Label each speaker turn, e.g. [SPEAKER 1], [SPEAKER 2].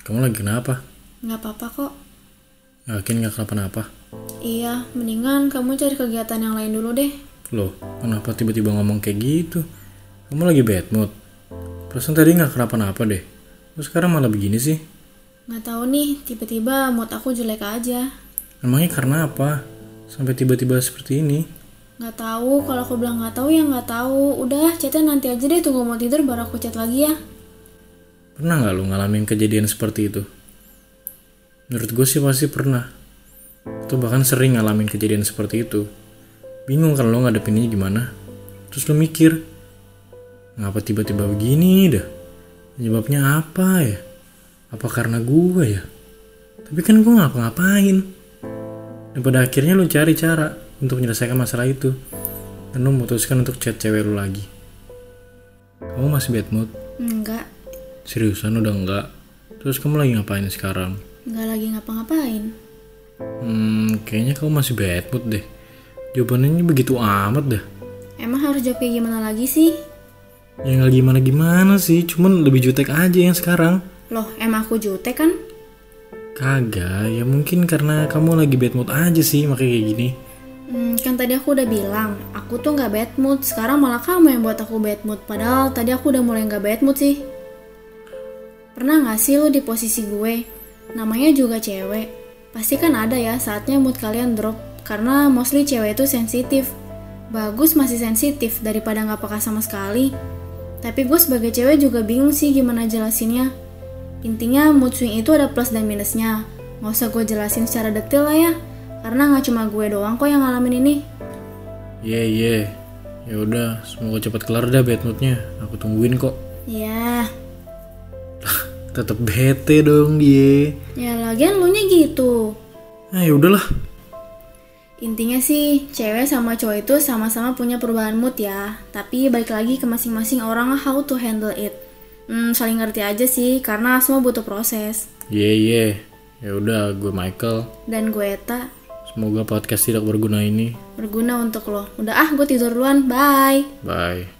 [SPEAKER 1] Kamu lagi kenapa?
[SPEAKER 2] Nggak apa-apa kok.
[SPEAKER 1] Yakin gak kenapa-napa?
[SPEAKER 2] Iya, mendingan kamu cari kegiatan yang lain dulu deh.
[SPEAKER 1] Loh, kenapa tiba-tiba ngomong kayak gitu? Kamu lagi bad mood? Perasaan tadi gak kenapa-napa deh. Terus sekarang malah begini sih?
[SPEAKER 2] Nggak tahu nih, tiba-tiba mood aku jelek aja.
[SPEAKER 1] Emangnya karena apa? Sampai tiba-tiba seperti ini?
[SPEAKER 2] Nggak tahu, kalau aku bilang nggak tahu ya nggak tahu. Udah, chatnya nanti aja deh, tunggu mau tidur baru aku chat lagi ya.
[SPEAKER 1] Pernah gak lo ngalamin kejadian seperti itu? Menurut gue sih pasti pernah. Atau bahkan sering ngalamin kejadian seperti itu. Bingung kan lo ngadepinnya gimana? Terus lo mikir, ngapa tiba-tiba begini dah? Penyebabnya apa ya? Apa karena gue ya? Tapi kan gue ngapa-ngapain. Dan pada akhirnya lo cari cara untuk menyelesaikan masalah itu. Dan lo memutuskan untuk chat cewek lo lagi. Kamu masih bad mood?
[SPEAKER 2] Nggak,
[SPEAKER 1] Seriusan udah enggak? Terus kamu lagi ngapain sekarang?
[SPEAKER 2] nggak lagi ngapa-ngapain.
[SPEAKER 1] Hmm, kayaknya kamu masih bad mood deh. Jawabannya begitu amat dah.
[SPEAKER 2] Emang harus jawab kayak gimana lagi sih?
[SPEAKER 1] Yang Ya, nggak gimana-gimana sih, cuman lebih jutek aja yang sekarang.
[SPEAKER 2] Loh, emang aku jutek kan?
[SPEAKER 1] Kagak, ya mungkin karena kamu lagi bad mood aja sih makanya kayak gini.
[SPEAKER 2] Hmm, kan tadi aku udah bilang, aku tuh nggak bad mood. Sekarang malah kamu yang buat aku bad mood. Padahal tadi aku udah mulai nggak bad mood sih. Pernah nggak sih lu di posisi gue? Namanya juga cewek. Pasti kan ada ya saatnya mood kalian drop. Karena mostly cewek itu sensitif. Bagus masih sensitif daripada nggak peka sama sekali. Tapi gue sebagai cewek juga bingung sih gimana jelasinnya. Intinya mood swing itu ada plus dan minusnya. Nggak usah gue jelasin secara detail lah ya. Karena nggak cuma gue doang kok yang ngalamin ini.
[SPEAKER 1] Iya, iya. Ya udah, semoga cepat kelar dah bad moodnya. Aku tungguin kok.
[SPEAKER 2] Ya,
[SPEAKER 1] Tetap bete dong dia.
[SPEAKER 2] ya lagian lu nya gitu.
[SPEAKER 1] Ah, ya udahlah.
[SPEAKER 2] Intinya sih, cewek sama cowok itu sama-sama punya perubahan mood ya. Tapi balik lagi ke masing-masing orang how to handle it. Hmm, saling ngerti aja sih, karena semua butuh proses.
[SPEAKER 1] Iya, iya. Ya udah, gue Michael.
[SPEAKER 2] Dan gue tak
[SPEAKER 1] Semoga podcast tidak berguna ini.
[SPEAKER 2] berguna untuk lo. Udah ah, gue tidur duluan. Bye.
[SPEAKER 1] Bye.